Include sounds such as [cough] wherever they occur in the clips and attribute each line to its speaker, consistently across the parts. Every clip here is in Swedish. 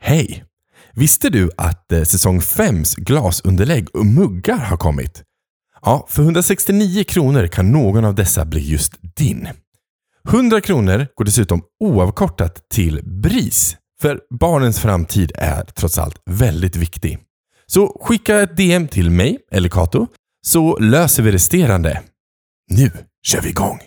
Speaker 1: Hej! Visste du att eh, säsong 5s glasunderlägg och muggar har kommit? Ja, för 169 kronor kan någon av dessa bli just din. 100 kronor går dessutom oavkortat till BRIS, för barnens framtid är trots allt väldigt viktig. Så skicka ett DM till mig eller Kato, så löser vi resterande. Nu kör vi igång!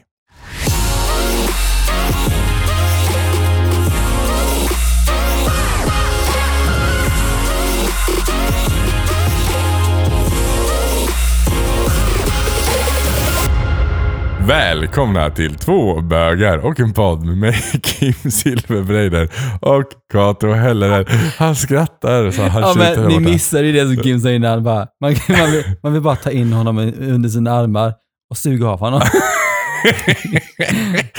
Speaker 1: Välkomna till två bögar och en podd med mig [laughs] Kim Silverbreider och Kato Hellerer. Han skrattar så han
Speaker 2: Ja
Speaker 1: tjuter där
Speaker 2: men ni
Speaker 1: borta.
Speaker 2: missade ju det som Kim sa innan. Bara, man, man, vill, man vill bara ta in honom under sina armar och suga
Speaker 1: [laughs]
Speaker 2: av honom.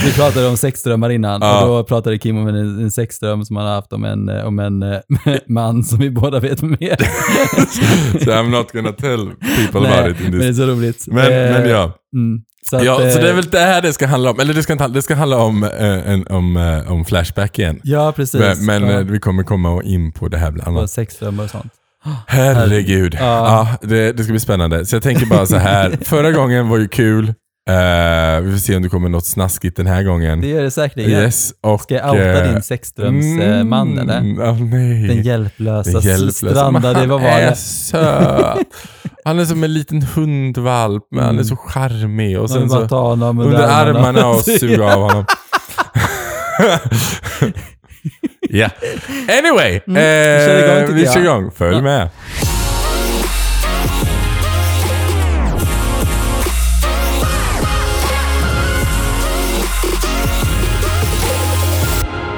Speaker 2: Vi pratade om sexdrömmar innan
Speaker 1: Ja.
Speaker 2: och då pratade Kim om en, en sexdröm som han har haft om en, eh, om en [laughs] eh, man som vi båda vet mer.
Speaker 1: So I'm not gonna tell people
Speaker 2: Nej,
Speaker 1: about it in
Speaker 2: men det är
Speaker 1: this.
Speaker 2: så roligt.
Speaker 1: Men,
Speaker 2: Eh,
Speaker 1: men ja.
Speaker 2: mm. så, att,
Speaker 1: ja. Så det är
Speaker 2: eh,
Speaker 1: väl det här det ska handla om. Eller det ska, inte, handla- det ska handla om, eh, en, om, eh, om Flashback igen.
Speaker 2: Ja, precis.
Speaker 1: Men, men
Speaker 2: ja,
Speaker 1: eh, vi kommer komma in på det här bland
Speaker 2: och
Speaker 1: annat.
Speaker 2: sexdrömmar och sånt.
Speaker 1: Herregud. Ja,
Speaker 2: Ja.
Speaker 1: det, det ska bli spännande. Så jag tänker bara så
Speaker 2: [laughs]
Speaker 1: här. Förra gången var ju kul. Eh, vi får se om det kommer något snaskigt den här gången.
Speaker 2: Det gör det säkerligen.
Speaker 1: Yes, och...
Speaker 2: Ska jag outa
Speaker 1: eh,
Speaker 2: din
Speaker 1: mm,
Speaker 2: sexdrömsman eller?
Speaker 1: ah, nej.
Speaker 2: Den hjälplösa,
Speaker 1: Den hjälplösa.
Speaker 2: strandade,
Speaker 1: Men
Speaker 2: vad var
Speaker 1: Han är
Speaker 2: det?
Speaker 1: söt. Han är som en liten hundvalp, men han är så charmig. Och
Speaker 2: Man
Speaker 1: sen
Speaker 2: vill Mm. bara
Speaker 1: så
Speaker 2: ta honom under,
Speaker 1: under armarna
Speaker 2: [laughs]
Speaker 1: och suga av honom. Ja. Anyway, eh,
Speaker 2: Mm. kör igång, tycker
Speaker 1: vi kör
Speaker 2: jag.
Speaker 1: igång. Följ
Speaker 2: Ja.
Speaker 1: med.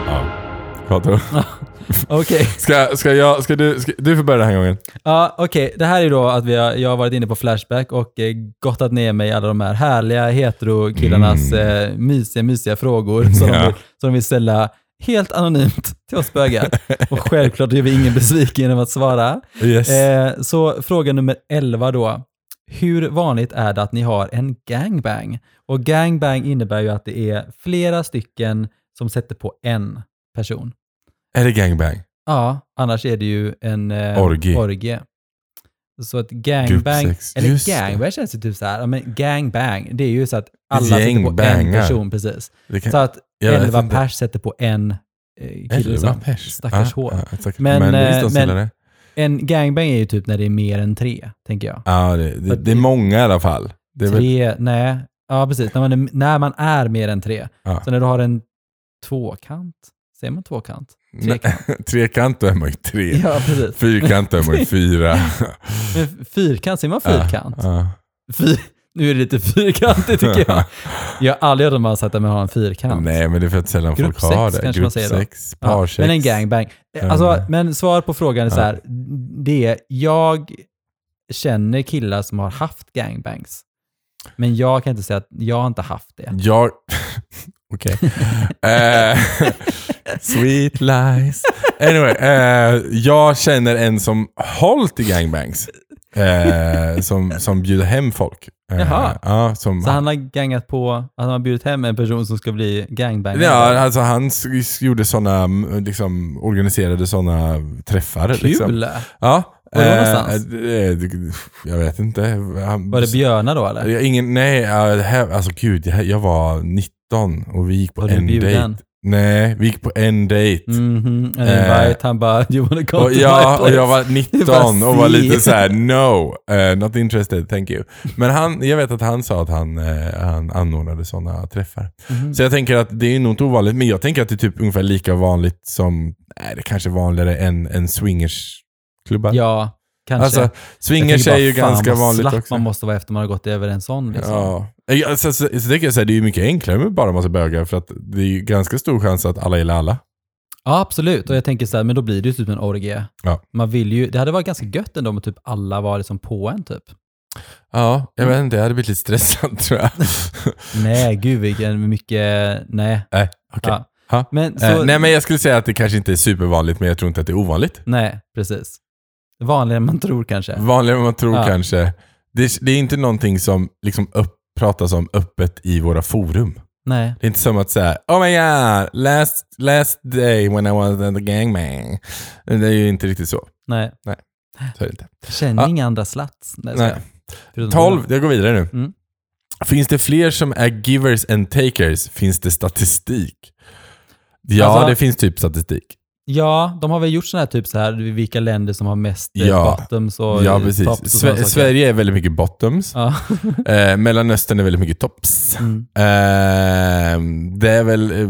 Speaker 1: Ja, Kato.
Speaker 2: Okej,
Speaker 1: Ska, ska jag, ska du, ska, du får börja den här gången.
Speaker 2: ja, okej. det här är då att vi har, jag har varit inne på Flashback och eh, gottat ner mig i alla de här härliga hetero-killarnas eh, mysiga, mysiga frågor som,
Speaker 1: Mm. Ja.
Speaker 2: de vill, som de vill ställa helt anonymt till oss bögar. och självklart gör vi ingen besviken genom att svara.
Speaker 1: Yes.
Speaker 2: Eh, så fråga nummer 11 då. Hur vanligt är det att ni har en gangbang? Och gangbang innebär ju att det är flera stycken som sätter på en person.
Speaker 1: Är det gangbang?
Speaker 2: Ja, annars är det ju en eh,
Speaker 1: Orgie.
Speaker 2: Så att gangbang,
Speaker 1: Gruppsex.
Speaker 2: eller
Speaker 1: Just det.
Speaker 2: gangbang känns ju typ så här, ja, men gangbang, det är ju så att alla
Speaker 1: gäng
Speaker 2: sätter på en
Speaker 1: bangar.
Speaker 2: person precis.
Speaker 1: Det kan,
Speaker 2: Så att
Speaker 1: jag vet
Speaker 2: elva
Speaker 1: inte.
Speaker 2: pers sätter på en eh, kille.
Speaker 1: Elva
Speaker 2: Liksom.
Speaker 1: pers.
Speaker 2: Stackars
Speaker 1: Ja,
Speaker 2: hår.
Speaker 1: Ja, stackars
Speaker 2: Men,
Speaker 1: men, det
Speaker 2: eh,
Speaker 1: visste de som
Speaker 2: men-
Speaker 1: gillar det.
Speaker 2: En gangbang är ju typ när det är mer än tre, tänker jag.
Speaker 1: Ja, det, det, det är många i alla fall. Det är väl,
Speaker 2: Tre, nej. Ja, precis. När man är, när man är mer än tre.
Speaker 1: Ja.
Speaker 2: Så när du har en tvåkant, säger man tvåkant?
Speaker 1: [laughs]
Speaker 2: Trekant.
Speaker 1: trekant då är man ju tre.
Speaker 2: Ja, precis.
Speaker 1: Fyrkant då är
Speaker 2: [laughs]
Speaker 1: man ju fyra.
Speaker 2: Men fyrkant, säger man fyrkant?
Speaker 1: Ja,
Speaker 2: Fy- nu är det lite fyrkantigt tycker
Speaker 1: [laughs]
Speaker 2: jag. Jag har aldrig hört om man sagt att man har en
Speaker 1: ja.
Speaker 2: fyrkant.
Speaker 1: Nej, men det är för att sällan folk
Speaker 2: Gruppsex
Speaker 1: har det.
Speaker 2: kanske man säger då.
Speaker 1: Gruppsex,
Speaker 2: Ja,
Speaker 1: parsex.
Speaker 2: men en gangbang.
Speaker 1: Ja.
Speaker 2: Alltså, men svar på frågan är så
Speaker 1: Ja.
Speaker 2: här. Det är, jag känner killar som har haft gangbangs. Men jag kan inte säga att jag har inte haft det.
Speaker 1: Jag... [laughs] Okej. Eh, [laughs] sweet lies. Anyway, eh, jag känner en som hållit i gangbangs. Eh, som, som bjuder hem folk. Eh,
Speaker 2: Jaha.
Speaker 1: Ja, som,
Speaker 2: Så han har gangat på att han har bjudit hem en person som ska bli gangbang.
Speaker 1: ja, alltså han s- s- gjorde såna, mm, liksom, organiserade sådana träffar.
Speaker 2: Kul!
Speaker 1: Liksom. Ja.
Speaker 2: Var det
Speaker 1: eh,
Speaker 2: någonstans?
Speaker 1: eh, d- jag vet inte. Han,
Speaker 2: Var det björnar då eller?
Speaker 1: Jag- Ingen, nej, eh, här, alltså gud, jag, jag var 19 och vi gick på
Speaker 2: Var du
Speaker 1: en
Speaker 2: bjuden?
Speaker 1: dejt. Nej, vi gick på en dejt.
Speaker 2: Mhm, en
Speaker 1: Eh,
Speaker 2: invite. Han bara, you wanna come
Speaker 1: Och,
Speaker 2: to my
Speaker 1: ja, och
Speaker 2: place?
Speaker 1: jag var
Speaker 2: Det var
Speaker 1: 19 och var
Speaker 2: si.
Speaker 1: lite så här: no, eh, not interested, thank you. Men han, jag vet att han sa att han, eh, han anordnade sådana träffar.
Speaker 2: Mhm.
Speaker 1: Så jag tänker att det är nog inte ovanligt, men jag tänker att det är typ ungefär lika vanligt som, nej det kanske är vanligare än, än swingersklubbar.
Speaker 2: Ja, kanske.
Speaker 1: alltså,
Speaker 2: Jag
Speaker 1: swingers
Speaker 2: tänker bara,
Speaker 1: är ju
Speaker 2: fan,
Speaker 1: ganska
Speaker 2: vad
Speaker 1: vanligt
Speaker 2: slapp
Speaker 1: också.
Speaker 2: man måste vara efter man har gått över en sån. Liksom.
Speaker 1: Ja. Eh, Alltså, så, så, tänker jag så här, det är ju mycket enklare med bara en massa bögar för att det är ju ganska stor chans att alla gillar alla.
Speaker 2: Ja, absolut. Och jag tänker så här, men då blir det ju typ en orgie.
Speaker 1: Ja.
Speaker 2: Man vill ju, det hade varit ganska gött ändå om typ alla var liksom på en typ.
Speaker 1: Ja, jag vet inte, jag hade blivit lite stressad [laughs] tror
Speaker 2: [laughs]
Speaker 1: jag.
Speaker 2: Nej, gud vilken mycket, nej.
Speaker 1: Nej, okej.
Speaker 2: Ja.
Speaker 1: Ha.
Speaker 2: Men så,
Speaker 1: Eh, nej men jag skulle säga att det kanske inte är supervanligt men jag tror inte att det är ovanligt.
Speaker 2: nej, precis. Vanligare än man tror kanske.
Speaker 1: Vanligare än man tror
Speaker 2: Ja.
Speaker 1: kanske. Det, det är inte någonting som liksom upp, pratas om öppet i våra forum.
Speaker 2: Nej.
Speaker 1: Det är inte som att säga Oh my god, last, last day when I was at the gangbang. Det är ju inte riktigt så.
Speaker 2: Nej.
Speaker 1: så är det inte.
Speaker 2: Känner
Speaker 1: Ja.
Speaker 2: inga andra slats. Nej,
Speaker 1: Nej.
Speaker 2: jag skojar. Förutom
Speaker 1: 12, jag går vidare nu.
Speaker 2: Mm.
Speaker 1: Finns det fler som är givers and takers? Finns det statistik? Ja,
Speaker 2: Alltså-
Speaker 1: det finns typ statistik.
Speaker 2: Ja, de har väl gjort sådana här typ så här, vilka länder som har mest
Speaker 1: Ja.
Speaker 2: ja. bottoms och
Speaker 1: ja,
Speaker 2: eh,
Speaker 1: precis.
Speaker 2: tops och
Speaker 1: Sve-
Speaker 2: sådana saker.
Speaker 1: Sverige är väldigt mycket bottoms.
Speaker 2: Ja. [laughs]
Speaker 1: Eh, Mellanöstern är väldigt mycket tops.
Speaker 2: Mm.
Speaker 1: Eh, det är väl eh,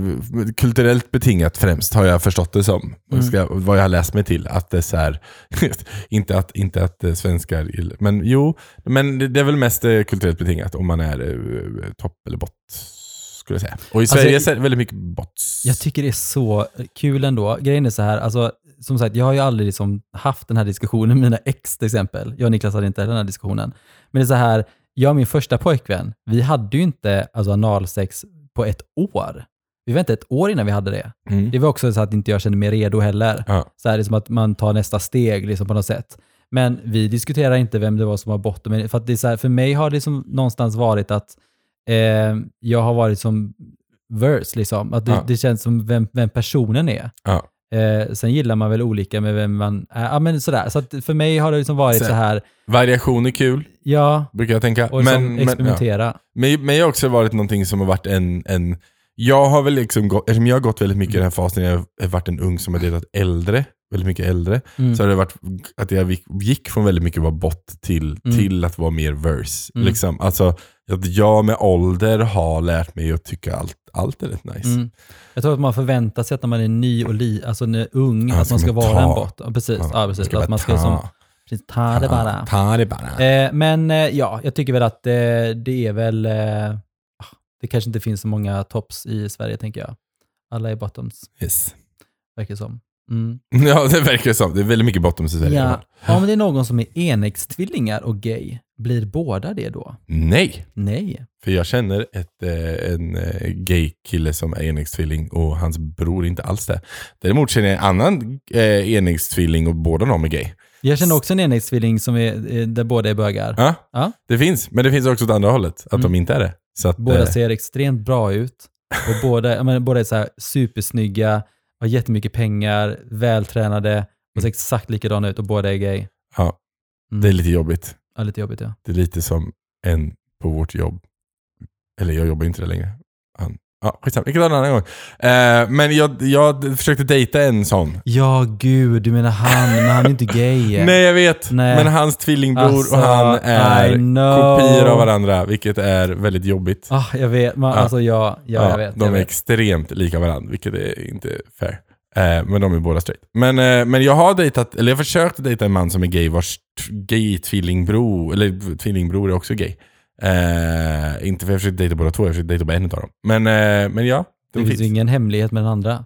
Speaker 1: kulturellt betingat främst, har jag förstått det som.
Speaker 2: Mm.
Speaker 1: Ska, vad jag har läst mig till. Att det är så här, [laughs] inte, att, inte att eh, svenskar gillar- Men jo, men det det är väl mest eh, kulturellt betingat om man är eh, topp eller bott. Skulle jag säga. Och i
Speaker 2: Alltså,
Speaker 1: Sverige
Speaker 2: jag-
Speaker 1: så är det väldigt mycket bots.
Speaker 2: Jag tycker det är så kul ändå. Grejen är så här, alltså, som sagt, jag har ju aldrig liksom haft den här diskussionen med mina ex till exempel. Jag och Niklas hade inte heller den här diskussionen. Men det är så här, jag och min första pojkvän, vi hade ju inte alltså, analsex på ett år. Vi var inte ett år innan vi hade det.
Speaker 1: Mm.
Speaker 2: Det var också så att inte jag kände mig redo heller.
Speaker 1: Ja.
Speaker 2: Så här, det är som att man tar nästa steg liksom, på något sätt. Men vi diskuterar inte vem det var som var botten. För, att det är så här, för mig har det liksom någonstans varit att eh, jag har varit som verse. Liksom. Att det,
Speaker 1: Ja.
Speaker 2: det känns som vem, vem personen är.
Speaker 1: Ja.
Speaker 2: Eh, sen gillar man väl olika med vem man är. Ja, men sådär. Så att för mig har det liksom varit
Speaker 1: Så-
Speaker 2: så, här,
Speaker 1: Variation är kul,
Speaker 2: ja,
Speaker 1: brukar jag tänka.
Speaker 2: och liksom
Speaker 1: men, ja.
Speaker 2: experimentera.
Speaker 1: Men, men jag har också varit någonting som har varit en, en jag har väl liksom gått, eftersom jag har gått väldigt mycket i den här fasen, när jag har varit en ung som har delat äldre, väldigt mycket äldre,
Speaker 2: Mm.
Speaker 1: så har det varit att jag gick- gick från väldigt mycket att vara bott till,
Speaker 2: Mm.
Speaker 1: till att vara mer verse.
Speaker 2: Mm.
Speaker 1: Liksom. Alltså, att jag med ålder har lärt mig att tycka allt, allt är rätt nice.
Speaker 2: Mm. Jag tror att man förväntar sig att när man är ny och li, alltså när ung,
Speaker 1: Ja,
Speaker 2: att man
Speaker 1: ska
Speaker 2: ska
Speaker 1: man
Speaker 2: vara
Speaker 1: ta.
Speaker 2: en bot. Ja, precis. Ja, precis.
Speaker 1: bara
Speaker 2: att man ska som,
Speaker 1: ta,
Speaker 2: precis, ta det bara.
Speaker 1: ta- Ta det bara.
Speaker 2: Eh, men eh, ja, jag tycker väl att eh, det är väl... Eh, ah, det kanske inte finns så många tops i Sverige, tänker jag. Alla är bottoms,
Speaker 1: Yes. [laughs]
Speaker 2: verkar det som. Mm.
Speaker 1: Ja, det verkar som. Det är väldigt mycket bottom i Sverige. i alla
Speaker 2: Ja.
Speaker 1: fall.
Speaker 2: Om det är någon som är enäggstvillingar och gay, blir båda det då?
Speaker 1: Nej!
Speaker 2: Nej.
Speaker 1: För jag känner ett, eh, en eh, gay kille som är enäggstvilling och hans bror är inte alls det. Däremot känner jag en annan eh, enäggstvilling och båda de är gay.
Speaker 2: Jag känner också en enäggstvilling som är, eh, där båda är bögar.
Speaker 1: Ja,
Speaker 2: Ja.
Speaker 1: det finns. Men det finns också åt andra hållet, att
Speaker 2: Mm.
Speaker 1: de inte är det. Så att,
Speaker 2: Båda
Speaker 1: eh,
Speaker 2: ser extremt bra ut och båda, jag menar, båda är så här supersnygga, har jättemycket pengar, vältränade och ser exakt likadana ut och båda är gay.
Speaker 1: ja,
Speaker 2: Mm.
Speaker 1: det är lite jobbigt.
Speaker 2: ja, lite jobbigt ja.
Speaker 1: Det är lite som en på vårt jobb. Eller jag jobbar inte där längre. Han, ja, skitsamma, vi kan ta det en annan gång. Eh, men jag, jag försökte dejta en sån.
Speaker 2: Ja, gud, du menar han, men han är inte
Speaker 1: [laughs]
Speaker 2: gay.
Speaker 1: Nej, jag vet.
Speaker 2: Nej. Alltså,
Speaker 1: Men hans tvillingbror och han
Speaker 2: I
Speaker 1: är
Speaker 2: know.
Speaker 1: kopior av varandra, vilket är väldigt jobbigt.
Speaker 2: Ah, jag vet, man,
Speaker 1: Ja.
Speaker 2: alltså ja, ja, jag vet.
Speaker 1: de
Speaker 2: jag
Speaker 1: är
Speaker 2: vet.
Speaker 1: extremt lika varandra, vilket är inte fair. Eh, men de är båda straight. Men, eh, men jag har dejtat, eller jag har försökt att dejta en man som är gay vars t- gay tvillingbror, eller tvillingbror är också gay. Eh, inte för jag försökte dejta båda två, jag försökte dejta bara en av dem. Men, eh, men ja, de
Speaker 2: det finns
Speaker 1: finns.
Speaker 2: ju ingen hemlighet med den andra.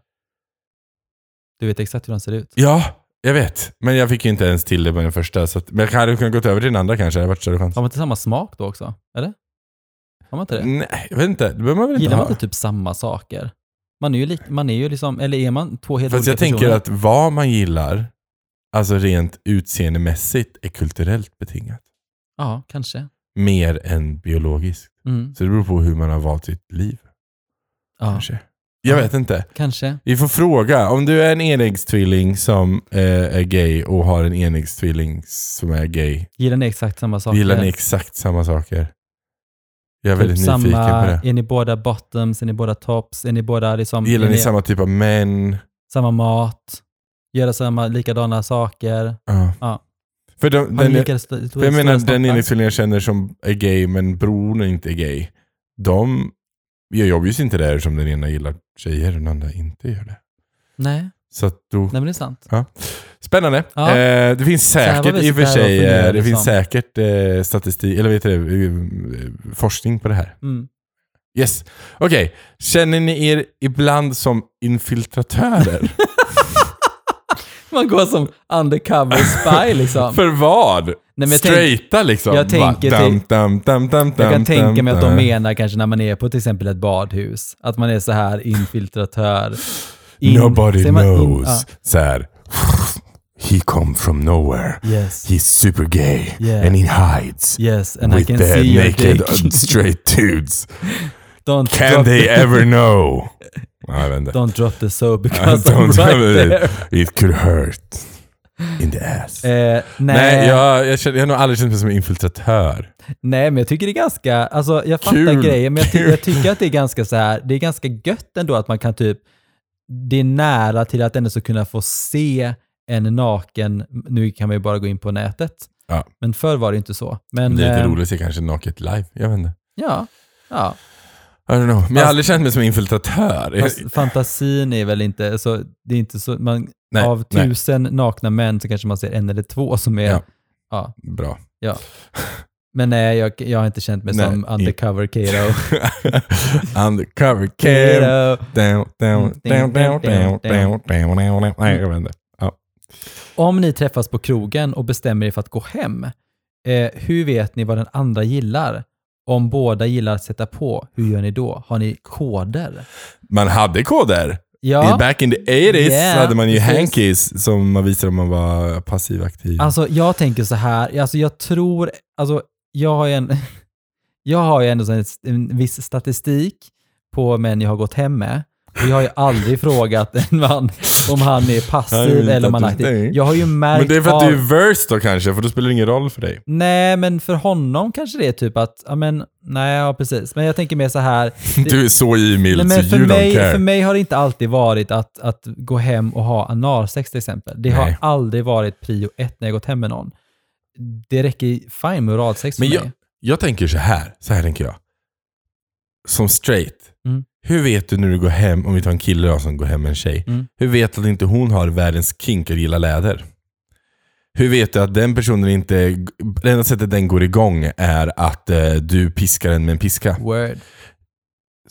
Speaker 2: Du vet exakt hur han ser ut.
Speaker 1: Ja, jag vet. Men jag fick ju inte ens till det med den första. Så att, men jag hade kunnat gå över till den andra kanske, det hade varit större chans.
Speaker 2: Har man inte samma smak då också? Eller? Har man inte det?
Speaker 1: Nej, jag vet inte. Det behöver man väl inte
Speaker 2: Gillar man
Speaker 1: ha.
Speaker 2: inte typ samma saker? Man är ju, lik, man är ju liksom, eller är man två helt
Speaker 1: Fast
Speaker 2: olika
Speaker 1: jag tänker
Speaker 2: personer?
Speaker 1: att vad man gillar, alltså rent utseendemässigt, är kulturellt betingat.
Speaker 2: Ja, kanske.
Speaker 1: Mer än biologiskt.
Speaker 2: Mm.
Speaker 1: Så det beror på hur man har valt sitt liv.
Speaker 2: Ja,
Speaker 1: Kanske. Jag vet inte.
Speaker 2: kanske.
Speaker 1: Vi får fråga. Om du är en enäggstvilling som eh, är gay och har en enäggstvilling som är gay.
Speaker 2: Gillar ni exakt samma saker?
Speaker 1: Gillar ni exakt samma saker? Jag är
Speaker 2: Typ
Speaker 1: väldigt nyfiken på det.
Speaker 2: Är ni båda bottoms? Är ni båda tops? Är ni båda liksom...
Speaker 1: Gillar
Speaker 2: är
Speaker 1: ni samma typ av män?
Speaker 2: samma mat, göra samma likadana saker.
Speaker 1: Ja.
Speaker 2: Ja.
Speaker 1: För, de,
Speaker 2: Har
Speaker 1: den,
Speaker 2: ni lika st-
Speaker 1: för jag menar, den
Speaker 2: liksom...
Speaker 1: enäggstvilling jag känner som är gay men bron inte är gay. De gör jobbigt inte det som den ena gillar tjejer och den andra inte gör det.
Speaker 2: Nej, nej
Speaker 1: Så att då
Speaker 2: men det är sant.
Speaker 1: Spännande.
Speaker 2: Ja.
Speaker 1: Eh, det finns
Speaker 2: här var
Speaker 1: säkert
Speaker 2: vi
Speaker 1: i och för
Speaker 2: så här och
Speaker 1: sig eh,
Speaker 2: funderade,
Speaker 1: det finns
Speaker 2: liksom.
Speaker 1: säkert eh, statistik, eller vet du det, eh, forskning på det här.
Speaker 2: Mm.
Speaker 1: Yes. Okej. Känner ni er ibland som
Speaker 2: [laughs]
Speaker 1: infiltratörer?
Speaker 2: Man går som undercover [laughs] spy liksom.
Speaker 1: för vad?
Speaker 2: Nej, men jag, tänk,
Speaker 1: Straighta liksom?
Speaker 2: jag tänker
Speaker 1: Va?
Speaker 2: till-
Speaker 1: dam, dam, dam,
Speaker 2: jag
Speaker 1: dam,
Speaker 2: kan tänka mig att de
Speaker 1: dam.
Speaker 2: menar kanske när man är på till exempel ett badhus, att man är så här infiltratör.
Speaker 1: Nobody
Speaker 2: ser man in- uh, ah,
Speaker 1: knows. Så här. He come from nowhere.
Speaker 2: ja. Yes,
Speaker 1: He's super gay.
Speaker 2: Yeah.
Speaker 1: And he hides.
Speaker 2: yes, and I
Speaker 1: with
Speaker 2: can
Speaker 1: the [laughs]
Speaker 2: see your
Speaker 1: naked
Speaker 2: dick.
Speaker 1: straight dudes.
Speaker 2: [laughs] Don't
Speaker 1: Can
Speaker 2: drop
Speaker 1: they
Speaker 2: the- [laughs]
Speaker 1: ever know? Ja, jag vet inte.
Speaker 2: Don't drop the soap because I'm
Speaker 1: Don't
Speaker 2: right
Speaker 1: drop it.
Speaker 2: there.
Speaker 1: It could hurt. In the ass.
Speaker 2: Eh, nej,
Speaker 1: Nej, jag, jag, känner, jag har nog aldrig känt mig som en infiltratör.
Speaker 2: nej, men jag tycker det är ganska, alltså jag fattar
Speaker 1: Kul,
Speaker 2: grejen, men jag, ty-
Speaker 1: kul.
Speaker 2: jag tycker att det är ganska så här, det är ganska gött ändå att man kan typ, det är nära till att ändå så kunna få se en naken, nu kan man ju bara gå in på nätet,
Speaker 1: Ja.
Speaker 2: men förr var det ju inte så. Men,
Speaker 1: det är lite
Speaker 2: eh,
Speaker 1: roligt att se kanske naket live. Jag vet inte.
Speaker 2: Ja, ja.
Speaker 1: I don't know. Men jag har aldrig känt mig som en infiltratör. Jag-
Speaker 2: Fast fantasin är väl inte, alltså, det är inte så, man,
Speaker 1: Nej,
Speaker 2: av
Speaker 1: nej.
Speaker 2: tusen nakna män så kanske man ser en eller två som är,
Speaker 1: Ja.
Speaker 2: ja.
Speaker 1: Bra. [laughs]
Speaker 2: Men nej, jag, jag har inte känt mig
Speaker 1: Nej,
Speaker 2: som
Speaker 1: i-
Speaker 2: undercover keto.
Speaker 1: Undercover cam.
Speaker 2: keto.
Speaker 1: Down, down, down, down, down, down, down, down, down. Nej, jag vet inte.
Speaker 2: Om ni träffas på krogen och bestämmer er för att gå hem, eh, hur vet ni vad den andra gillar? Om båda gillar att sätta på, hur gör ni då? Har ni koder?
Speaker 1: Man hade koder.
Speaker 2: Ja,
Speaker 1: I back in the 80s
Speaker 2: Yeah,
Speaker 1: så hade man ju
Speaker 2: precis.
Speaker 1: hankies som man visade om man var passiv aktiv.
Speaker 2: Alltså jag tänker så här, alltså jag tror, alltså jag har ju en, [laughs] jag har ju ändå så en, en viss statistik på män jag har gått hem med. Och jag har ju aldrig [laughs] frågat en man om han är
Speaker 1: Nej, det är
Speaker 2: passiv
Speaker 1: inte
Speaker 2: eller om han är
Speaker 1: statistik.
Speaker 2: aktiv. Jag har ju märkt
Speaker 1: men det är för att
Speaker 2: av,
Speaker 1: du är verse då kanske, för då spelar det ingen roll för dig.
Speaker 2: Nej, men för honom kanske det är typ att, ja men, nej ja, precis. Men jag tänker mer så här,
Speaker 1: [laughs] Du är så
Speaker 2: nej,
Speaker 1: givmild så
Speaker 2: men för,
Speaker 1: you
Speaker 2: mig,
Speaker 1: don't care.
Speaker 2: för mig har det inte alltid varit att, att gå hem och ha analsex till exempel. Det
Speaker 1: Nej.
Speaker 2: har aldrig varit prio ett när jag gått hem med någon. Det räcker ju fine med oralsex
Speaker 1: Men
Speaker 2: för
Speaker 1: jag-
Speaker 2: mig.
Speaker 1: Jag tänker så här, så här tänker jag. Som straight.
Speaker 2: Mm.
Speaker 1: Hur vet du när du går hem, om vi tar en kille då som går hem med en tjej.
Speaker 2: Mm.
Speaker 1: Hur vet du att inte hon har världens kink att gilla läder? Hur vet du att den personen inte, det enda sättet den går igång är att eh, du piskar den med en piska?
Speaker 2: Word.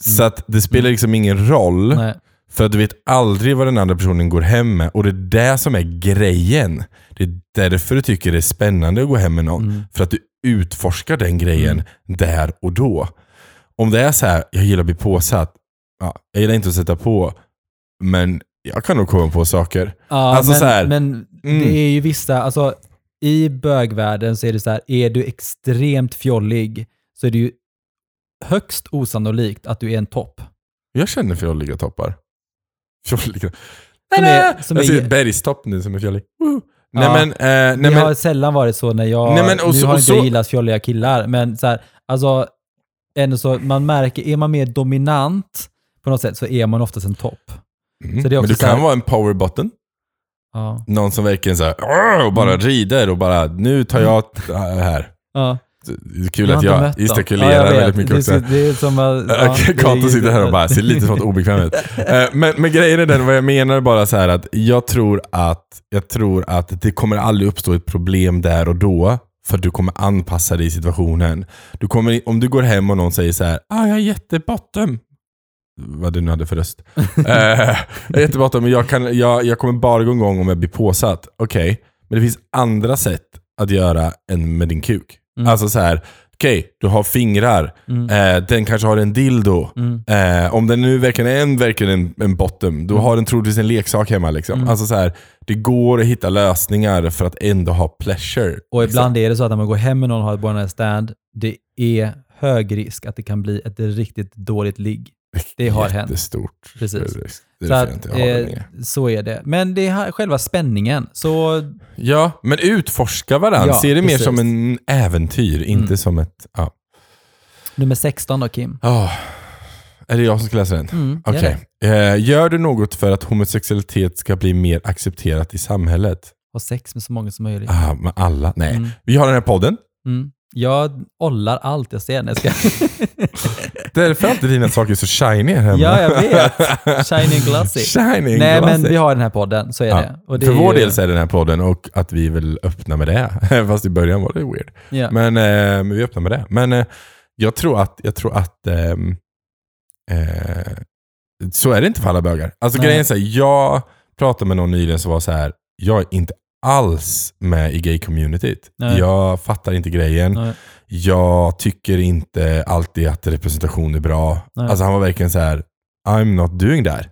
Speaker 1: Så att det spelar liksom ingen roll.
Speaker 2: Nej.
Speaker 1: För att du vet aldrig vad den andra personen går hem med. Och det är det som är grejen. Det är därför du tycker det är spännande att gå hem med någon.
Speaker 2: Mm.
Speaker 1: För att du utforskar den grejen där och då. Om det är så här, jag gillar att bli påsatt. Ja, jag gillar inte att sätta på, men jag kan nog komma på saker.
Speaker 2: Ja,
Speaker 1: Alltså
Speaker 2: men,
Speaker 1: så här,
Speaker 2: men
Speaker 1: mm.
Speaker 2: det är ju vissa, alltså i bögvärlden så är det så här, är du extremt fjollig så är det ju högst osannolikt att du är en topp.
Speaker 1: Jag känner fjolliga toppar. Fjolliga.
Speaker 2: Som är- som
Speaker 1: jag
Speaker 2: är-
Speaker 1: ser ett bergstopp nu som är fjollig. Woo! Nej
Speaker 2: Ja.
Speaker 1: men, eh, nej,
Speaker 2: det
Speaker 1: men
Speaker 2: har sällan varit så när jag,
Speaker 1: Nej, men och
Speaker 2: nu
Speaker 1: så-
Speaker 2: har
Speaker 1: och
Speaker 2: inte
Speaker 1: så-
Speaker 2: jag gillat fjolliga killar, men så här, alltså, ändå så, man märker, är man mer dominant på något sätt så är man oftast en topp.
Speaker 1: mm.
Speaker 2: så det är
Speaker 1: men
Speaker 2: också
Speaker 1: du
Speaker 2: så här-
Speaker 1: kan vara en power button.
Speaker 2: Ja.
Speaker 1: Någon som verkligen så här, "Åh!" och
Speaker 2: Mm.
Speaker 1: bara rider och bara, nu tar jag t- äh, här.
Speaker 2: Ja,
Speaker 1: Det är kul
Speaker 2: Mm. jag har
Speaker 1: att jag
Speaker 2: inte mött dem.
Speaker 1: gestikulerar
Speaker 2: Ja, jag vet.
Speaker 1: väldigt mycket
Speaker 2: det,
Speaker 1: också.
Speaker 2: är- Det är som att...
Speaker 1: [laughs]
Speaker 2: ja,
Speaker 1: Okej,
Speaker 2: det är
Speaker 1: Kato
Speaker 2: ju-
Speaker 1: sitter här och bara ser lite sånt obekväm
Speaker 2: [laughs]
Speaker 1: ut. Eh, Men, men grejen är den, vad jag menar bara så här att jag tror att, jag tror att det kommer aldrig uppstå ett problem där och då. För att du kommer anpassa dig i situationen. Du kommer, om du går hem och någon säger så här, ah, jag är jättebottom. Vad du nu hade för
Speaker 2: [laughs]
Speaker 1: röst. Eh, jag är jättebottom, men jag, kan, jag, jag kommer bara gå igång om jag blir påsatt. Okej, men det finns andra sätt att göra än med din kuk.
Speaker 2: Mm.
Speaker 1: Alltså så här, okej, du har fingrar.
Speaker 2: Mm.
Speaker 1: Eh, den kanske har en dildo.
Speaker 2: Mm.
Speaker 1: Eh, om den nu verkligen är en, verkligen en, en bottom, då har den troligtvis en leksak hemma. Liksom.
Speaker 2: Mm.
Speaker 1: Alltså så här, det går att hitta lösningar för att ändå ha pleasure.
Speaker 2: Och
Speaker 1: liksom.
Speaker 2: ibland är det så att när man går hem med någon och har ett one night stand, det är hög risk att det kan bli ett riktigt dåligt ligg. Det har hänt.
Speaker 1: Jättestort.
Speaker 2: Precis.
Speaker 1: Det är
Speaker 2: Så,
Speaker 1: därför
Speaker 2: att,
Speaker 1: jag inte har den
Speaker 2: eh,
Speaker 1: längre.
Speaker 2: så är det. Men det är här- själva spänningen. Så
Speaker 1: Ja, men utforska varandra.
Speaker 2: Ja,
Speaker 1: Se det mer
Speaker 2: precis.
Speaker 1: som en äventyr, inte
Speaker 2: Mm.
Speaker 1: som ett... Ja.
Speaker 2: nummer 16 då Kim.
Speaker 1: Ah, Är det jag som ska läsa den?
Speaker 2: Mm, gör
Speaker 1: Okej.
Speaker 2: det.
Speaker 1: Eh, gör du något för att homosexualitet ska bli mer accepterat i samhället?
Speaker 2: Ha sex med så många som möjligt.
Speaker 1: Ah, med alla? Nej.
Speaker 2: Mm,
Speaker 1: Vi har den här podden.
Speaker 2: mm. Jag ollar allt jag ser när
Speaker 1: [laughs]
Speaker 2: jag ska.
Speaker 1: Därför är alltid dina saker så shiny här hemma.
Speaker 2: ja, jag vet. Shiny and glossy.
Speaker 1: Shiny and
Speaker 2: Nej, men
Speaker 1: glossy.
Speaker 2: vi har den här podden, så är
Speaker 1: Ja.
Speaker 2: det. Och det
Speaker 1: För
Speaker 2: är
Speaker 1: vår
Speaker 2: ju-
Speaker 1: del så är den här podden och att vi vill öppna med det. [laughs] Fast i början var det weird.
Speaker 2: Ja.
Speaker 1: Men, eh, men vi öppnar med det. Men eh, jag tror att, jag tror att ehm, eh, så är det inte för alla bögar. Alltså
Speaker 2: Nej.
Speaker 1: grejen är så här, jag pratade med någon nyligen som var så här, jag är inte alls med i gay-communityt.
Speaker 2: Nej.
Speaker 1: Jag fattar inte grejen.
Speaker 2: Nej.
Speaker 1: Jag tycker inte alltid att representation är bra.
Speaker 2: Nej.
Speaker 1: Alltså han var verkligen så här, I'm not doing that.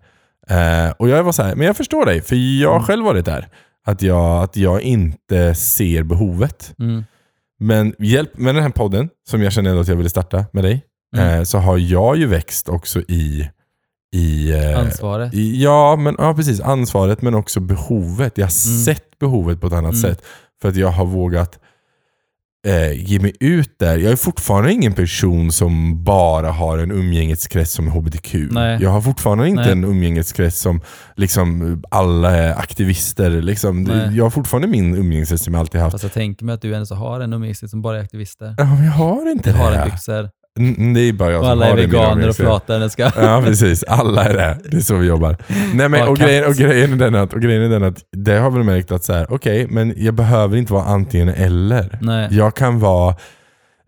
Speaker 1: Eh, och jag var så här, men jag förstår dig, för jag har
Speaker 2: Mm.
Speaker 1: själv varit där. Att jag, att jag inte ser behovet.
Speaker 2: Mm.
Speaker 1: Men hjälp med den här podden, som jag känner ändå att jag ville starta med dig.
Speaker 2: Mm.
Speaker 1: eh, så har jag ju växt också i, i, eh,
Speaker 2: Ansvaret.
Speaker 1: i ja, men, ja, precis. ansvaret men också behovet. Jag har
Speaker 2: Mm.
Speaker 1: sett behovet på ett annat
Speaker 2: Mm.
Speaker 1: sätt. För att jag har vågat eh, ge mig ut där. Jag är fortfarande ingen person som bara har en umgängeskrets som är HBTQ.
Speaker 2: Nej.
Speaker 1: Jag har fortfarande inte
Speaker 2: Nej.
Speaker 1: en umgängeskrets som liksom, alla är aktivister. Liksom. Det-
Speaker 2: Nej.
Speaker 1: Jag har fortfarande min umgängeskrets som jag alltid haft.
Speaker 2: Fast jag tänker mig att du ändå så har en umgängeskrets som bara är aktivister.
Speaker 1: Ja, men jag har inte
Speaker 2: Du
Speaker 1: det.
Speaker 2: har en byxor
Speaker 1: Mm, det är bara jag
Speaker 2: och
Speaker 1: som
Speaker 2: alla
Speaker 1: har
Speaker 2: är
Speaker 1: det i min
Speaker 2: veganer och
Speaker 1: omgivning.
Speaker 2: flata. Den ska...
Speaker 1: Ja, precis. Alla är det. Det är så vi jobbar. Nej, men,
Speaker 2: Ja,
Speaker 1: och,
Speaker 2: katt.
Speaker 1: grejen, och, grejen är den att, och grejen är den att, det har väl märkt att så här, okej, men jag behöver inte vara antingen eller.
Speaker 2: Nej.
Speaker 1: Jag kan vara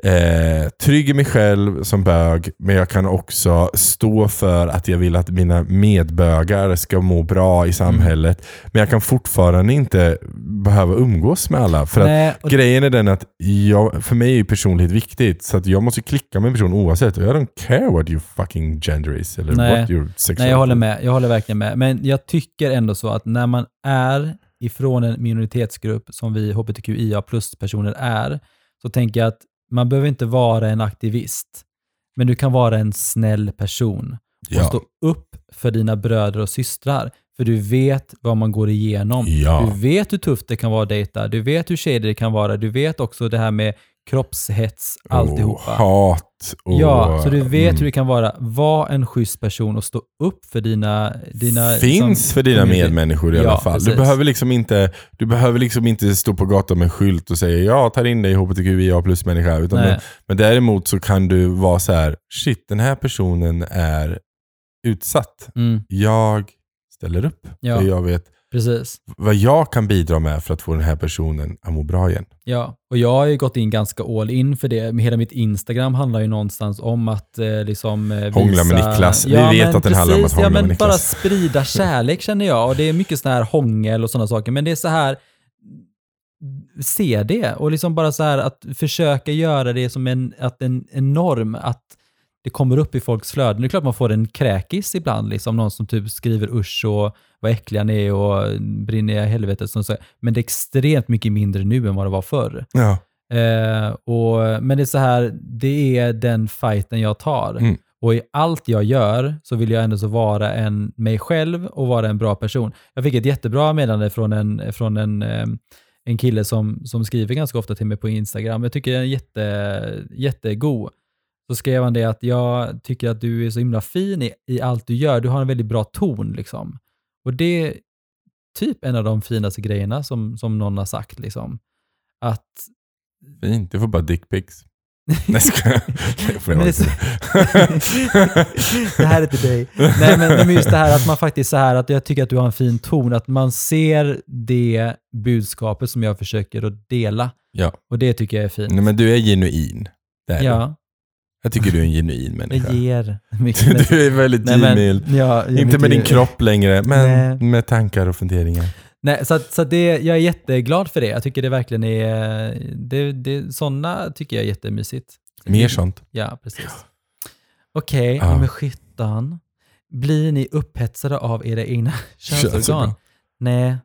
Speaker 1: eh, trygg i mig själv som bög, men jag kan också stå för att jag vill att mina medbögar ska må bra i samhället.
Speaker 2: Mm.
Speaker 1: Men jag kan fortfarande inte behöva umgås med alla. För att
Speaker 2: Nej, och
Speaker 1: Grejen är den att jag, för mig är ju personlighet viktigt, så att jag måste klicka med en person oavsett. Och jag don't care what your fucking gender is eller
Speaker 2: Nej.
Speaker 1: what your sexual...
Speaker 2: Nej, jag håller med. Jag håller verkligen med. Men jag tycker ändå så att när man är ifrån en minoritetsgrupp som vi hbtqia plus-personer är, så tänker jag att man behöver inte vara en aktivist, men du kan vara en snäll person och
Speaker 1: Ja.
Speaker 2: stå upp för dina bröder och systrar, för du vet vad man går igenom.
Speaker 1: Ja.
Speaker 2: Du vet hur tufft det kan vara att dejta, du vet hur tjejer det kan vara, du vet också det här med kroppshets,
Speaker 1: Och
Speaker 2: alltihopa.
Speaker 1: hat och...
Speaker 2: Ja, så du vet
Speaker 1: Mm.
Speaker 2: hur det kan vara. Var en schysst person och stå upp för dina... dina
Speaker 1: Finns
Speaker 2: liksom,
Speaker 1: för dina
Speaker 2: community.
Speaker 1: medmänniskor i
Speaker 2: Ja,
Speaker 1: alla fall. Du
Speaker 2: precis.
Speaker 1: behöver, liksom inte, du behöver liksom inte stå på gatan med en skylt och säga jag tar in dig i hbtqia plus-människa. Utan
Speaker 2: Nej.
Speaker 1: men, men däremot så kan du vara så här, shit den här personen är utsatt.
Speaker 2: Mm,
Speaker 1: Jag ställer upp.
Speaker 2: Ja.
Speaker 1: För jag vet
Speaker 2: precis.
Speaker 1: vad jag kan bidra med för att få den här personen att må bra igen.
Speaker 2: Ja, och jag har ju gått in ganska all in för det. Hela mitt Instagram handlar ju någonstans om att eh, liksom eh, visa...
Speaker 1: Hångla med Niklas. Vi vet
Speaker 2: men
Speaker 1: att den handlar om att
Speaker 2: precis.
Speaker 1: hångla
Speaker 2: ja, men
Speaker 1: med Niklas.
Speaker 2: Bara
Speaker 1: [laughs]
Speaker 2: sprida kärlek känner jag och det är mycket sån här hångel och sådana saker. Men det är så här, se det och liksom bara så här att försöka göra det som en, att en, en norm, att det kommer upp i folks flöden. Det är klart man får en kräkis ibland, liksom någon som typ skriver usch och vad äckliga ni är och brinner jag i helvetet. sånt så- Men det är extremt mycket mindre nu än vad det var förr.
Speaker 1: Ja.
Speaker 2: Eh, och, men det är så här, det är den fighten jag tar.
Speaker 1: Mm.
Speaker 2: Och i allt jag gör så vill jag ändå så vara en, mig själv och vara en bra person. Jag fick ett jättebra meddelande från en, från en, eh, en kille som, som skriver ganska ofta till mig på Instagram. Jag tycker den är jätte, jättegod. Så skrev han det att jag tycker att du är så himla fin i, i allt du gör. Du har en väldigt bra ton. Liksom. Och det är typ en av de finaste grejerna som, som någon har sagt. Liksom. Att
Speaker 1: Fint, du får bara dickpics. [laughs] Nej, ska jag Det får jag
Speaker 2: Men det är
Speaker 1: inte.
Speaker 2: så- [laughs] det här är till dig. Nej men, nej, men just det här att man faktiskt så här att jag tycker att du har en fin ton, att man ser det budskapet som jag försöker att dela.
Speaker 1: [laughs] Ja.
Speaker 2: Och det tycker jag är fint.
Speaker 1: Nej, men du är genuin. Det är du.
Speaker 2: ja,
Speaker 1: Jag tycker du är en genuin
Speaker 2: jag
Speaker 1: människa.
Speaker 2: ger
Speaker 1: [laughs]
Speaker 2: mycket.
Speaker 1: Du är väldigt
Speaker 2: Nej,
Speaker 1: givmild.
Speaker 2: men, ja, jag
Speaker 1: Inte med din
Speaker 2: mycket-
Speaker 1: kropp längre, men
Speaker 2: Nej.
Speaker 1: med tankar och funderingar.
Speaker 2: Nej, så att, så att det, jag är jätteglad för det. Jag tycker det verkligen är, det, det, sådana tycker jag är jättemysigt.
Speaker 1: Mer sånt.
Speaker 2: Ja, precis. Okej,
Speaker 1: Ja.
Speaker 2: nummer 17. Blir ni upphetsade av era egna [laughs] könsorgan?
Speaker 1: Könsorgan.
Speaker 2: Nej.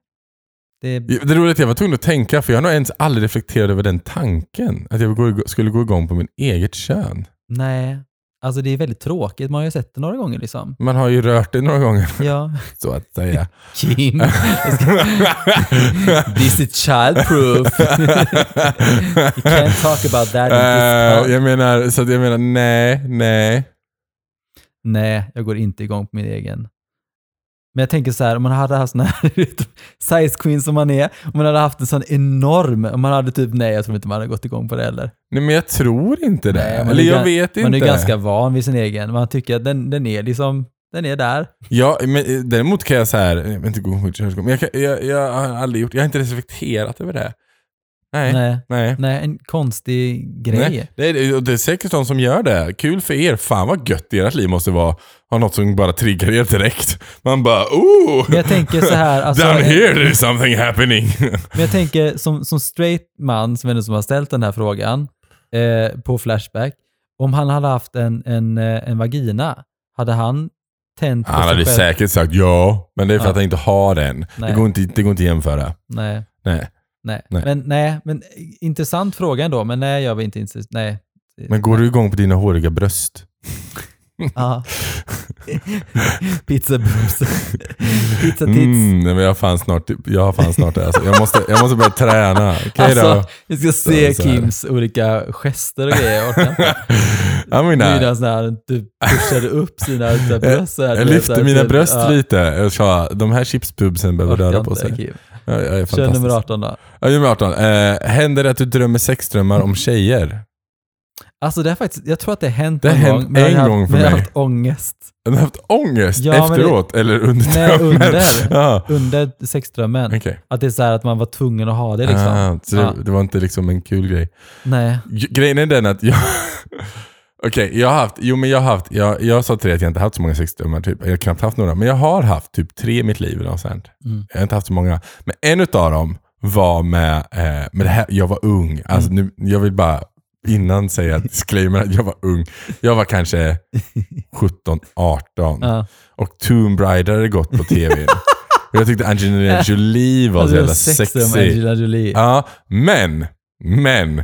Speaker 2: Det,
Speaker 1: Det roliga är att jag var tvungen att tänka, för jag har nog ens aldrig reflekterat över den tanken. Att jag gå- skulle gå igång på min eget kön.
Speaker 2: Nej. Alltså det är väldigt tråkigt. Man har ju sett det några
Speaker 1: [laughs]
Speaker 2: gånger liksom.
Speaker 1: Man har ju rört det några gånger, [laughs]
Speaker 2: Ja.
Speaker 1: så att
Speaker 2: [laughs]
Speaker 1: säga.
Speaker 2: Kim. This
Speaker 1: [laughs]
Speaker 2: is childproof. You can't talk about that in this
Speaker 1: Eh,
Speaker 2: pod.
Speaker 1: jag menar, så att jag menar, nej, nej.
Speaker 2: Nej, jag går inte igång på min egen. Men jag tänker så här, om man hade haft sån här [laughs] size queen som man är, om man hade haft en sån enorm, om man hade typ, nej jag tror inte man hade gått igång på det heller.
Speaker 1: Nej, men jag tror inte det.
Speaker 2: Nej, man
Speaker 1: Eller
Speaker 2: är
Speaker 1: jag
Speaker 2: ga-
Speaker 1: vet inte.
Speaker 2: Man är ju ganska van vid sin egen, man tycker att den, den är liksom, den är där.
Speaker 1: ja, men, eh, däremot kan jag så här, jag vill inte gå mot könsgång, men jag, kan, jag, jag har aldrig gjort, jag har inte reflekterat över det. Nej, nej.
Speaker 2: Nej,
Speaker 1: nej.
Speaker 2: nej en konstig grej.
Speaker 1: Det, är, och det är säkert de som gör det. Kul för er. Fan vad gött ert liv måste vara. Ha något som bara triggar er direkt. Man bara oh!
Speaker 2: Men jag tänker så
Speaker 1: [laughs]
Speaker 2: här, alltså,
Speaker 1: Down
Speaker 2: en-
Speaker 1: here there's something happening.
Speaker 2: Men jag tänker som, som straight man, som är den som har ställt den här frågan eh, på Flashback, om han hade haft en, en, eh, en vagina, hade han tänt på
Speaker 1: Han hade
Speaker 2: sig själv?
Speaker 1: säkert sagt ja, men det är för
Speaker 2: Ja.
Speaker 1: att han inte har den. Det
Speaker 2: Nej.
Speaker 1: går, inte, det går inte att jämföra.
Speaker 2: Nej,
Speaker 1: Nej.
Speaker 2: nej.
Speaker 1: Nej. [laughs]
Speaker 2: Men, nej, men eh, intressant fråga ändå, men nej, jag var inte intresserad. Nej,
Speaker 1: Men går du igång på dina håriga bröst?
Speaker 2: Ja. [laughs]
Speaker 1: [laughs]
Speaker 2: Pizza boobs. Pizza tits.
Speaker 1: Mm, nej, men jag har fan snart, jag har fan snart det. Alltså. Jag, måste, jag måste börja träna. Okej då.
Speaker 2: Alltså, vi ska se
Speaker 1: Så här.
Speaker 2: Kims olika gester och grejer. Jag
Speaker 1: [laughs]
Speaker 2: orkar inte.
Speaker 1: Jag, menar,
Speaker 2: Medan han typ pushade upp sina så här bröst. så här,
Speaker 1: jag
Speaker 2: du vet, så
Speaker 1: lyfte
Speaker 2: här
Speaker 1: mina
Speaker 2: till-
Speaker 1: bröst
Speaker 2: ja,
Speaker 1: lite. Jag sa, de här chipspubsen behöver
Speaker 2: orkar
Speaker 1: röra på
Speaker 2: inte,
Speaker 1: sig.
Speaker 2: Kim.
Speaker 1: Jag, jag är
Speaker 2: Kör nummer
Speaker 1: fantastisk.
Speaker 2: 18 då.
Speaker 1: Ja, nummer 18. Eh, händer det att du drömmer sexdrömmar om tjejer?
Speaker 2: Alltså det har faktiskt, jag tror att det har hänt
Speaker 1: Det har
Speaker 2: en
Speaker 1: hänt
Speaker 2: gång. men jag
Speaker 1: en
Speaker 2: haft-
Speaker 1: gång för
Speaker 2: men Jag har
Speaker 1: mig.
Speaker 2: haft ångest.
Speaker 1: Har du haft ångest
Speaker 2: Ja, men det-
Speaker 1: efteråt eller under
Speaker 2: Nej,
Speaker 1: drömmen?
Speaker 2: under,
Speaker 1: [laughs] Ja,
Speaker 2: under sexdrömmen.
Speaker 1: okej.
Speaker 2: Att det är så här att man var tvungen att ha det liksom.
Speaker 1: Ah, så
Speaker 2: Ja.
Speaker 1: det, det var inte liksom en kul grej.
Speaker 2: Nej.
Speaker 1: G- Grejen är den att jag... [laughs] Okej, jag har haft... Jo, men jag har haft... Jag, jag sa till dig att jag inte haft så många sexdrömmar. Typ. Jag har knappt haft några. Men jag har haft typ tre i mitt liv. Eller något sånt.
Speaker 2: Mm.
Speaker 1: Jag har inte haft så många. Men en av dem var med... Eh, med det här, jag var ung. Alltså,
Speaker 2: Mm.
Speaker 1: nu, jag vill bara innan säga disclaimer att jag var ung. Jag var
Speaker 2: [laughs]
Speaker 1: kanske 17, 18.
Speaker 2: Ja.
Speaker 1: Och Tomb Raider hade gått på
Speaker 2: [laughs]
Speaker 1: tv. och jag tyckte Angelina Jolie var så
Speaker 2: Alltså, det
Speaker 1: jävla
Speaker 2: var sex med
Speaker 1: sexig.
Speaker 2: Angelina Jolie.
Speaker 1: Ja, men, men.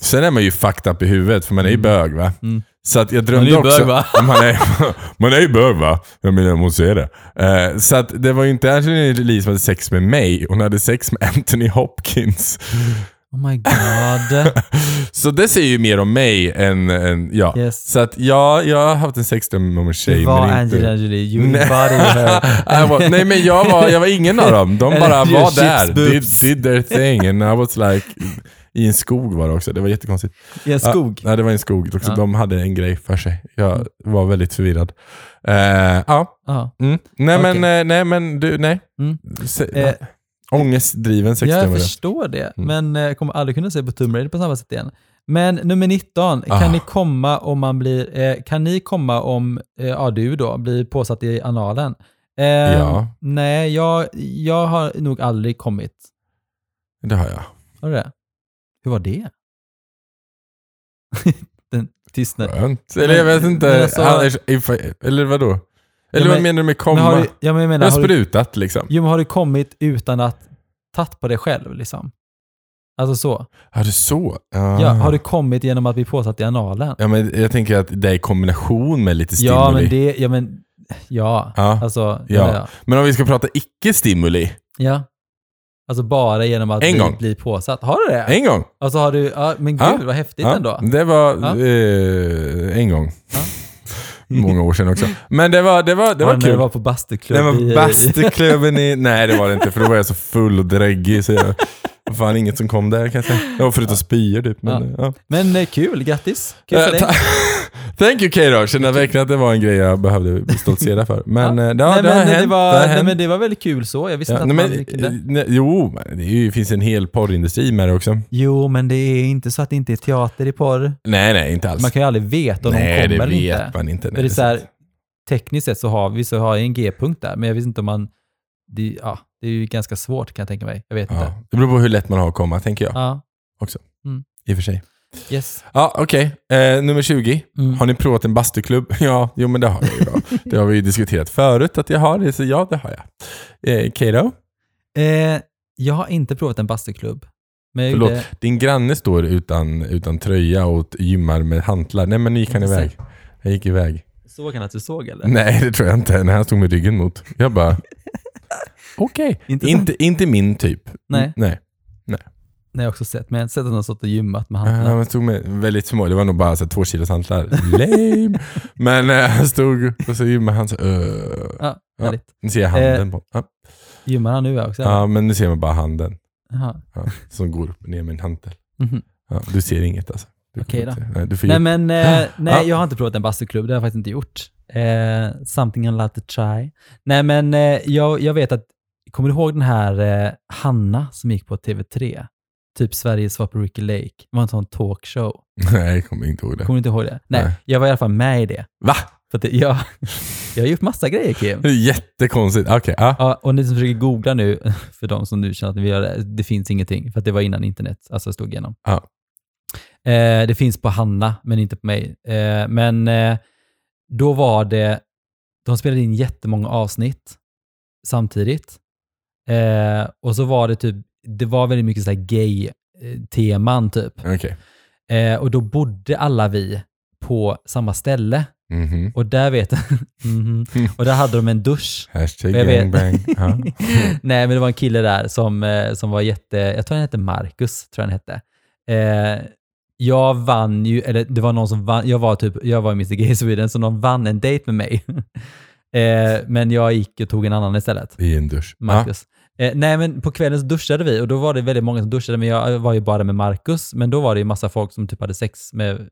Speaker 1: Sen är man ju fucked up i huvudet för man är ju bög va?
Speaker 2: Mm.
Speaker 1: Så att jag drömde
Speaker 2: Man är ju
Speaker 1: också...
Speaker 2: bög, va?
Speaker 1: [laughs] man, är, man är ju bög va? Jag menar, man måste säga det. Eh, så att det var ju inte Angelina Jolie som hade sex med mig. Hon hade sex med Anthony Hopkins.
Speaker 2: Oh
Speaker 1: [laughs]
Speaker 2: my god.
Speaker 1: Så det säger ju mer om mig än... än ja.
Speaker 2: Yes.
Speaker 1: Så att ja, jag har haft en sexdröm om en tjej.
Speaker 2: Det var
Speaker 1: men inte- [laughs]
Speaker 2: Angelina Jolie. You
Speaker 1: Nej. [laughs]
Speaker 2: embody her.
Speaker 1: I wa- nej men jag var, jag var ingen av dem. De bara
Speaker 2: [laughs] Eller your
Speaker 1: var där. Did,
Speaker 2: shitboobs.
Speaker 1: did their thing. And I was like... I en skog var det också. Det var jättekonstigt.
Speaker 2: I en skog.
Speaker 1: Ja, nej, det var en skog. Också.
Speaker 2: Ja.
Speaker 1: De hade en grej för sig. Jag var väldigt förvirrad. Eh, ja.
Speaker 2: Ja.
Speaker 1: Mm. Nej,
Speaker 2: Okej.
Speaker 1: men, eh, nej, men du, nej.
Speaker 2: Mm.
Speaker 1: Se,
Speaker 2: Eh,
Speaker 1: Ångestdriven
Speaker 2: Ja, jag
Speaker 1: sexdrömmare.
Speaker 2: förstår det,
Speaker 1: Mm.
Speaker 2: men eh, jag kommer aldrig kunna se på Tomb Raider på samma sätt igen. Men nummer 19,
Speaker 1: Ah.
Speaker 2: kan ni komma om man blir, eh, kan ni komma om, eh, ja du då, blir påsatt i analen? Eh,
Speaker 1: Ja.
Speaker 2: Nej, jag, jag har nog aldrig kommit.
Speaker 1: Det har jag.
Speaker 2: Har du det? Hur var det? [laughs] Den tystnad.
Speaker 1: Skönt. Eller jag vet
Speaker 2: Men
Speaker 1: inte.
Speaker 2: alltså-
Speaker 1: Anders, if I, eller vadå? Eller
Speaker 2: Ja,
Speaker 1: vad
Speaker 2: men-
Speaker 1: menar du med
Speaker 2: Men
Speaker 1: komma?
Speaker 2: har du, ja, men jag
Speaker 1: jag
Speaker 2: menar,
Speaker 1: har
Speaker 2: har du,
Speaker 1: sprutat liksom.
Speaker 2: jo, men har du kommit utan att tatt på dig själv liksom? Alltså så.
Speaker 1: Har du så? Ah.
Speaker 2: Ja, har du kommit genom att bli påsatt i analen?
Speaker 1: ja, men jag tänker att det är i kombination med lite stimuli.
Speaker 2: Ja, men det, ja men, ja.
Speaker 1: Ja.
Speaker 2: Alltså,
Speaker 1: Ja.
Speaker 2: ja. ja.
Speaker 1: Men om vi ska prata icke-stimuli.
Speaker 2: ja. Alltså bara genom att
Speaker 1: En
Speaker 2: bli,
Speaker 1: gång.
Speaker 2: bli påsatt. Har du det?
Speaker 1: En gång.
Speaker 2: Alltså har du, ja, men
Speaker 1: Ja.
Speaker 2: gud vad häftigt ändå.
Speaker 1: Det var
Speaker 2: Ja.
Speaker 1: eh, en gång.
Speaker 2: Ja.
Speaker 1: [laughs] Många år sedan också. Men det var, det var, det var
Speaker 2: när du
Speaker 1: kul.
Speaker 2: var på bastuklubb
Speaker 1: Det
Speaker 2: i-
Speaker 1: var
Speaker 2: i-
Speaker 1: bastuklubben i... Nej, det var det inte. För då var jag så full och dräggig. Så jag, fan inget som kom där kanske. Jag var förutom spyor typ. Men, ja.
Speaker 2: Men eh, kul, grattis. Kul
Speaker 1: Eh,
Speaker 2: för dig.
Speaker 1: ta- [laughs] Thank you Keyyo. Känner verkligen att det var en grej jag behövde stoltsera för. Men eh, det har
Speaker 2: nej,
Speaker 1: det har
Speaker 2: men,
Speaker 1: hänt.
Speaker 2: det var,
Speaker 1: det har
Speaker 2: nej
Speaker 1: hänt.
Speaker 2: men det var väldigt kul så. Jag visste
Speaker 1: Ja,
Speaker 2: inte
Speaker 1: nej,
Speaker 2: att
Speaker 1: men,
Speaker 2: man
Speaker 1: eh,
Speaker 2: kunde.
Speaker 1: nej, jo, men det är ju, finns en hel porrindustri med det också.
Speaker 2: Jo, men det är inte så att det inte är teater i porr.
Speaker 1: Nej, nej, inte alls.
Speaker 2: Man kan ju aldrig veta om
Speaker 1: nej,
Speaker 2: de
Speaker 1: det
Speaker 2: kommer
Speaker 1: vet
Speaker 2: eller inte.
Speaker 1: man inte. Nej,
Speaker 2: För det är så
Speaker 1: sant.
Speaker 2: här, tekniskt sett så har vi så har jag en G-punkt där, men jag visste inte om man... Det, ja, det är ju ganska svårt kan jag tänka mig. Jag vet inte.
Speaker 1: ja. Det beror på hur lätt man har att komma, tänker jag.
Speaker 2: Ja,
Speaker 1: I och för sig.
Speaker 2: yes.
Speaker 1: Ja, okej. Eh, nummer 20.
Speaker 2: Mm.
Speaker 1: Har ni provat en bastuklubb? [laughs] Ja, jo men det har jag ju då. Det har vi ju diskuterat förut att jag har det, så ja det har jag. Eh, Kato,
Speaker 2: Eh, jag har inte provat en bastuklubb. Men jag
Speaker 1: Förlåt.
Speaker 2: gjorde,
Speaker 1: din granne står utan, utan tröja och gymmar med hantlar. Nej men nu gick han
Speaker 2: Jag har
Speaker 1: iväg. Jag gick iväg.
Speaker 2: såg han att du såg eller?
Speaker 1: Nej, det tror jag inte. Nej, han stod med ryggen mot. Jag bara, okej.
Speaker 2: Intressant.
Speaker 1: Inte, inte min typ.
Speaker 2: Nej.
Speaker 1: Nej.
Speaker 2: Nej, jag har också sett, men jag har sett att han har stått och gymmat med handen.
Speaker 1: Eh, Han stod med väldigt små, det var nog bara så här, två kilos hantlar.
Speaker 2: [laughs]
Speaker 1: Lame! Men eh, han stod och så gymmade han så, eh,
Speaker 2: Ja,
Speaker 1: Ja.
Speaker 2: härligt.
Speaker 1: Nu ser jag handen
Speaker 2: Eh,
Speaker 1: på ja.
Speaker 2: Gymmar han nu också?
Speaker 1: ja, men nu ser man bara handen.
Speaker 2: Jaha.
Speaker 1: Ja, som går upp och ner med en hantel.
Speaker 2: Mhm.
Speaker 1: Ja, du ser inget alltså. Du
Speaker 2: Okej
Speaker 1: kommer
Speaker 2: då.
Speaker 1: inte se. Nej, du får
Speaker 2: Nej,
Speaker 1: ju- Ah,
Speaker 2: men eh,
Speaker 1: Ja.
Speaker 2: nej, jag har inte provat en bastuklubb. Det har jag faktiskt inte gjort. Eh, something I'm allowed to try. Nej, men eh, jag, jag vet att, kommer du ihåg den här eh, Hanna som gick på TV3? Typ Sveriges svar på Ricky Lake. Det var en sån talkshow.
Speaker 1: [laughs] Nej, jag kommer inte ihåg det.
Speaker 2: Kommer du inte ihåg det? Nej,
Speaker 1: Nej.
Speaker 2: jag var i alla fall med i det.
Speaker 1: Va?
Speaker 2: För att det, jag, [laughs] jag har gjort massa grejer, Kim.
Speaker 1: Det är jättekonstigt. Okej, ja.
Speaker 2: Ja, och ni som försöker googla nu, [laughs] för de som nu känner att vi gör det, det finns ingenting, för att det var innan internet alltså slog igenom.
Speaker 1: Ja.
Speaker 2: Eh, det finns på Hanna, men inte på mig. Eh, men eh, då var det, de spelade in jättemånga avsnitt samtidigt. Eh, och så var det eh, typ, det var väldigt mycket så här gay-teman typ.
Speaker 1: Okej.
Speaker 2: Eh, och då bodde alla vi på samma ställe.
Speaker 1: Mhm.
Speaker 2: Och där vet [laughs] Mhm. Och där hade de en dusch.
Speaker 1: Hashtag
Speaker 2: Jag vet.
Speaker 1: gangbang. Ja.
Speaker 2: [laughs] Nej, men det var en kille där som, eh, som var jätte... Jag tror han hette Marcus, tror jag han hette. Eh, jag vann ju, eller det var någon som vann, jag var typ, jag var i Mr Gay Sweden, så någon vann en dejt med mig. [laughs] eh, men jag gick och tog en annan istället.
Speaker 1: I en dusch. Ja.
Speaker 2: Marcus. Eh, nej, men på kvällen så duschade vi och då var det väldigt många som duschade, men jag var ju bara med Marcus. Men då var det ju massa folk som typ hade sex med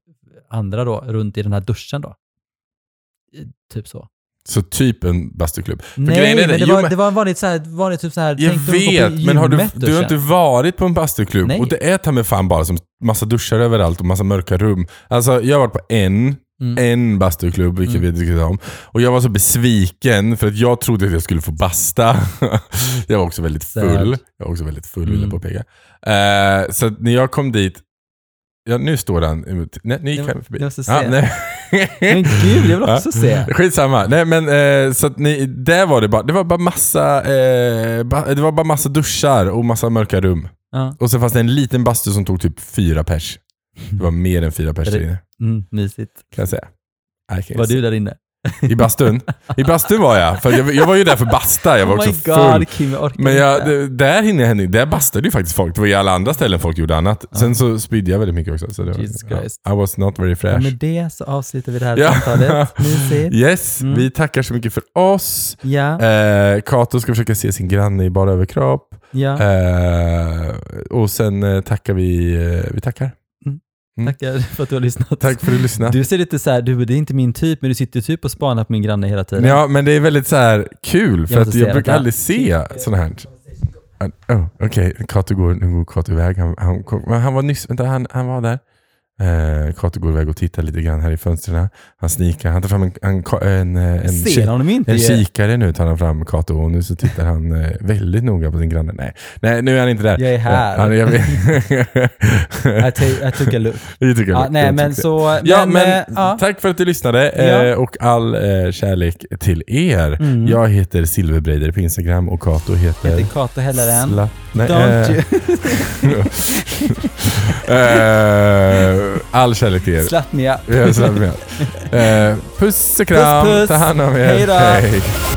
Speaker 2: andra då, runt i den här duschen då. Eh, Typ så.
Speaker 1: Så typ en bastuklubb. För
Speaker 2: Nej,
Speaker 1: grejen är
Speaker 2: men det,
Speaker 1: jo,
Speaker 2: var, det var vanligt så här, vanligt typ så här,
Speaker 1: Jag
Speaker 2: tänkte de gå på
Speaker 1: vet, men har du,
Speaker 2: gymmet typ.
Speaker 1: du har
Speaker 2: duschen?
Speaker 1: inte varit på en bastuklubb
Speaker 2: Nej.
Speaker 1: och det är ta mig fan bara som massa duschar överallt och massa mörka rum. Alltså jag har varit på en,
Speaker 2: Mm.
Speaker 1: en bastuklubb, vilket vi diskuterade om. Och jag var så besviken för att jag trodde att jag skulle få basta. [laughs] jag var också väldigt full.
Speaker 2: Sad.
Speaker 1: Jag var också väldigt full vill
Speaker 2: Mm.
Speaker 1: jag påpeka. Eh, så att när jag kom dit, ja nu står han emot- Nej, nu gick
Speaker 2: Jag-
Speaker 1: han förbi.
Speaker 2: jag måste
Speaker 1: Ja,
Speaker 2: se.
Speaker 1: nej.
Speaker 2: [laughs] Men gud, jag vill
Speaker 1: [laughs]
Speaker 2: också se.
Speaker 1: Skitsamma. Nej, men, eh, så att ni, där var det bara, det var bara massa eh, ba, det var bara massa duschar och massa mörka rum.
Speaker 2: Ja.
Speaker 1: Och så fanns det en liten bastu som tog typ fyra pers. Det var mer än fyra pers
Speaker 2: Är det-
Speaker 1: där inne,
Speaker 2: Mm, mysigt.
Speaker 1: kan jag säga. Nej, kan jag
Speaker 2: Var
Speaker 1: säga.
Speaker 2: du där inne?
Speaker 1: I bastun? I bastun var jag. För jag, jag var ju där för att basta. Jag var
Speaker 2: oh
Speaker 1: också
Speaker 2: my
Speaker 1: full.
Speaker 2: god, Kim, jag orkar
Speaker 1: Men jag,
Speaker 2: inte.
Speaker 1: det- där hinner jag Henning, där bastade ju faktiskt folk. Det var ju alla andra ställen folk gjorde annat. Sen så spydde jag väldigt mycket också. Så det var,
Speaker 2: Jesus
Speaker 1: ja.
Speaker 2: Christ.
Speaker 1: I was not very
Speaker 2: Och
Speaker 1: fresh.
Speaker 2: med det så avslutar vi det här
Speaker 1: Ja. [laughs]
Speaker 2: samtalet. Mysigt.
Speaker 1: Yes,
Speaker 2: Mm.
Speaker 1: vi tackar så mycket för oss.
Speaker 2: Ja,
Speaker 1: Eh, Kato ska försöka se sin granne i bara överkropp.
Speaker 2: ja.
Speaker 1: Eh, och sen eh, tackar vi, eh, vi tackar. mm.
Speaker 2: Tackar för att du har lyssnat.
Speaker 1: Tack för att du lyssnade.
Speaker 2: Du ser lite så här, du det är inte min typ, men du sitter typ och spanar på min granne hela tiden.
Speaker 1: Ja, men det är väldigt så här kul för
Speaker 2: Jag
Speaker 1: jag att
Speaker 2: måste
Speaker 1: jag
Speaker 2: se
Speaker 1: brukar
Speaker 2: detta.
Speaker 1: aldrig se sådana här. Ah, Oh, Okej, Kato går, nu går Kato iväg. Han, han, kom- men han var nyss, vänta, han, han var där. Eh, Kato går iväg och tittar lite grann här i fönstren. Han snikar, han tar fram en, en, ka- en, eh, en
Speaker 2: ser
Speaker 1: ki-
Speaker 2: honom inte.
Speaker 1: en kikare nu tar han fram Kato och nu så tittar han eh, väldigt noga på sin granne. Nej, nej nu är han inte där.
Speaker 2: Jag är här.
Speaker 1: Ja, han, jag vet. [laughs]
Speaker 2: I, ta- I took a look.
Speaker 1: det tycker [laughs] jag.
Speaker 2: Ja, nej,
Speaker 1: Jag
Speaker 2: men
Speaker 1: tycker-
Speaker 2: så...
Speaker 1: Ja, men,
Speaker 2: eh, ja.
Speaker 1: tack för att du lyssnade eh,
Speaker 2: Ja.
Speaker 1: och all eh, kärlek till er.
Speaker 2: Mm.
Speaker 1: Jag heter Silverbreider på Instagram och Kato heter...
Speaker 2: Heter Kato Hellaren.
Speaker 1: Sla- nej,
Speaker 2: Don't
Speaker 1: eh,
Speaker 2: you...
Speaker 1: eh, all kärlek till
Speaker 2: [laughs]
Speaker 1: er.
Speaker 2: Slapp me up.
Speaker 1: Ja, slapp med. Eh, puss och kram.
Speaker 2: Puss, puss.
Speaker 1: Ta hand om er.
Speaker 2: Hej då.
Speaker 1: Hej.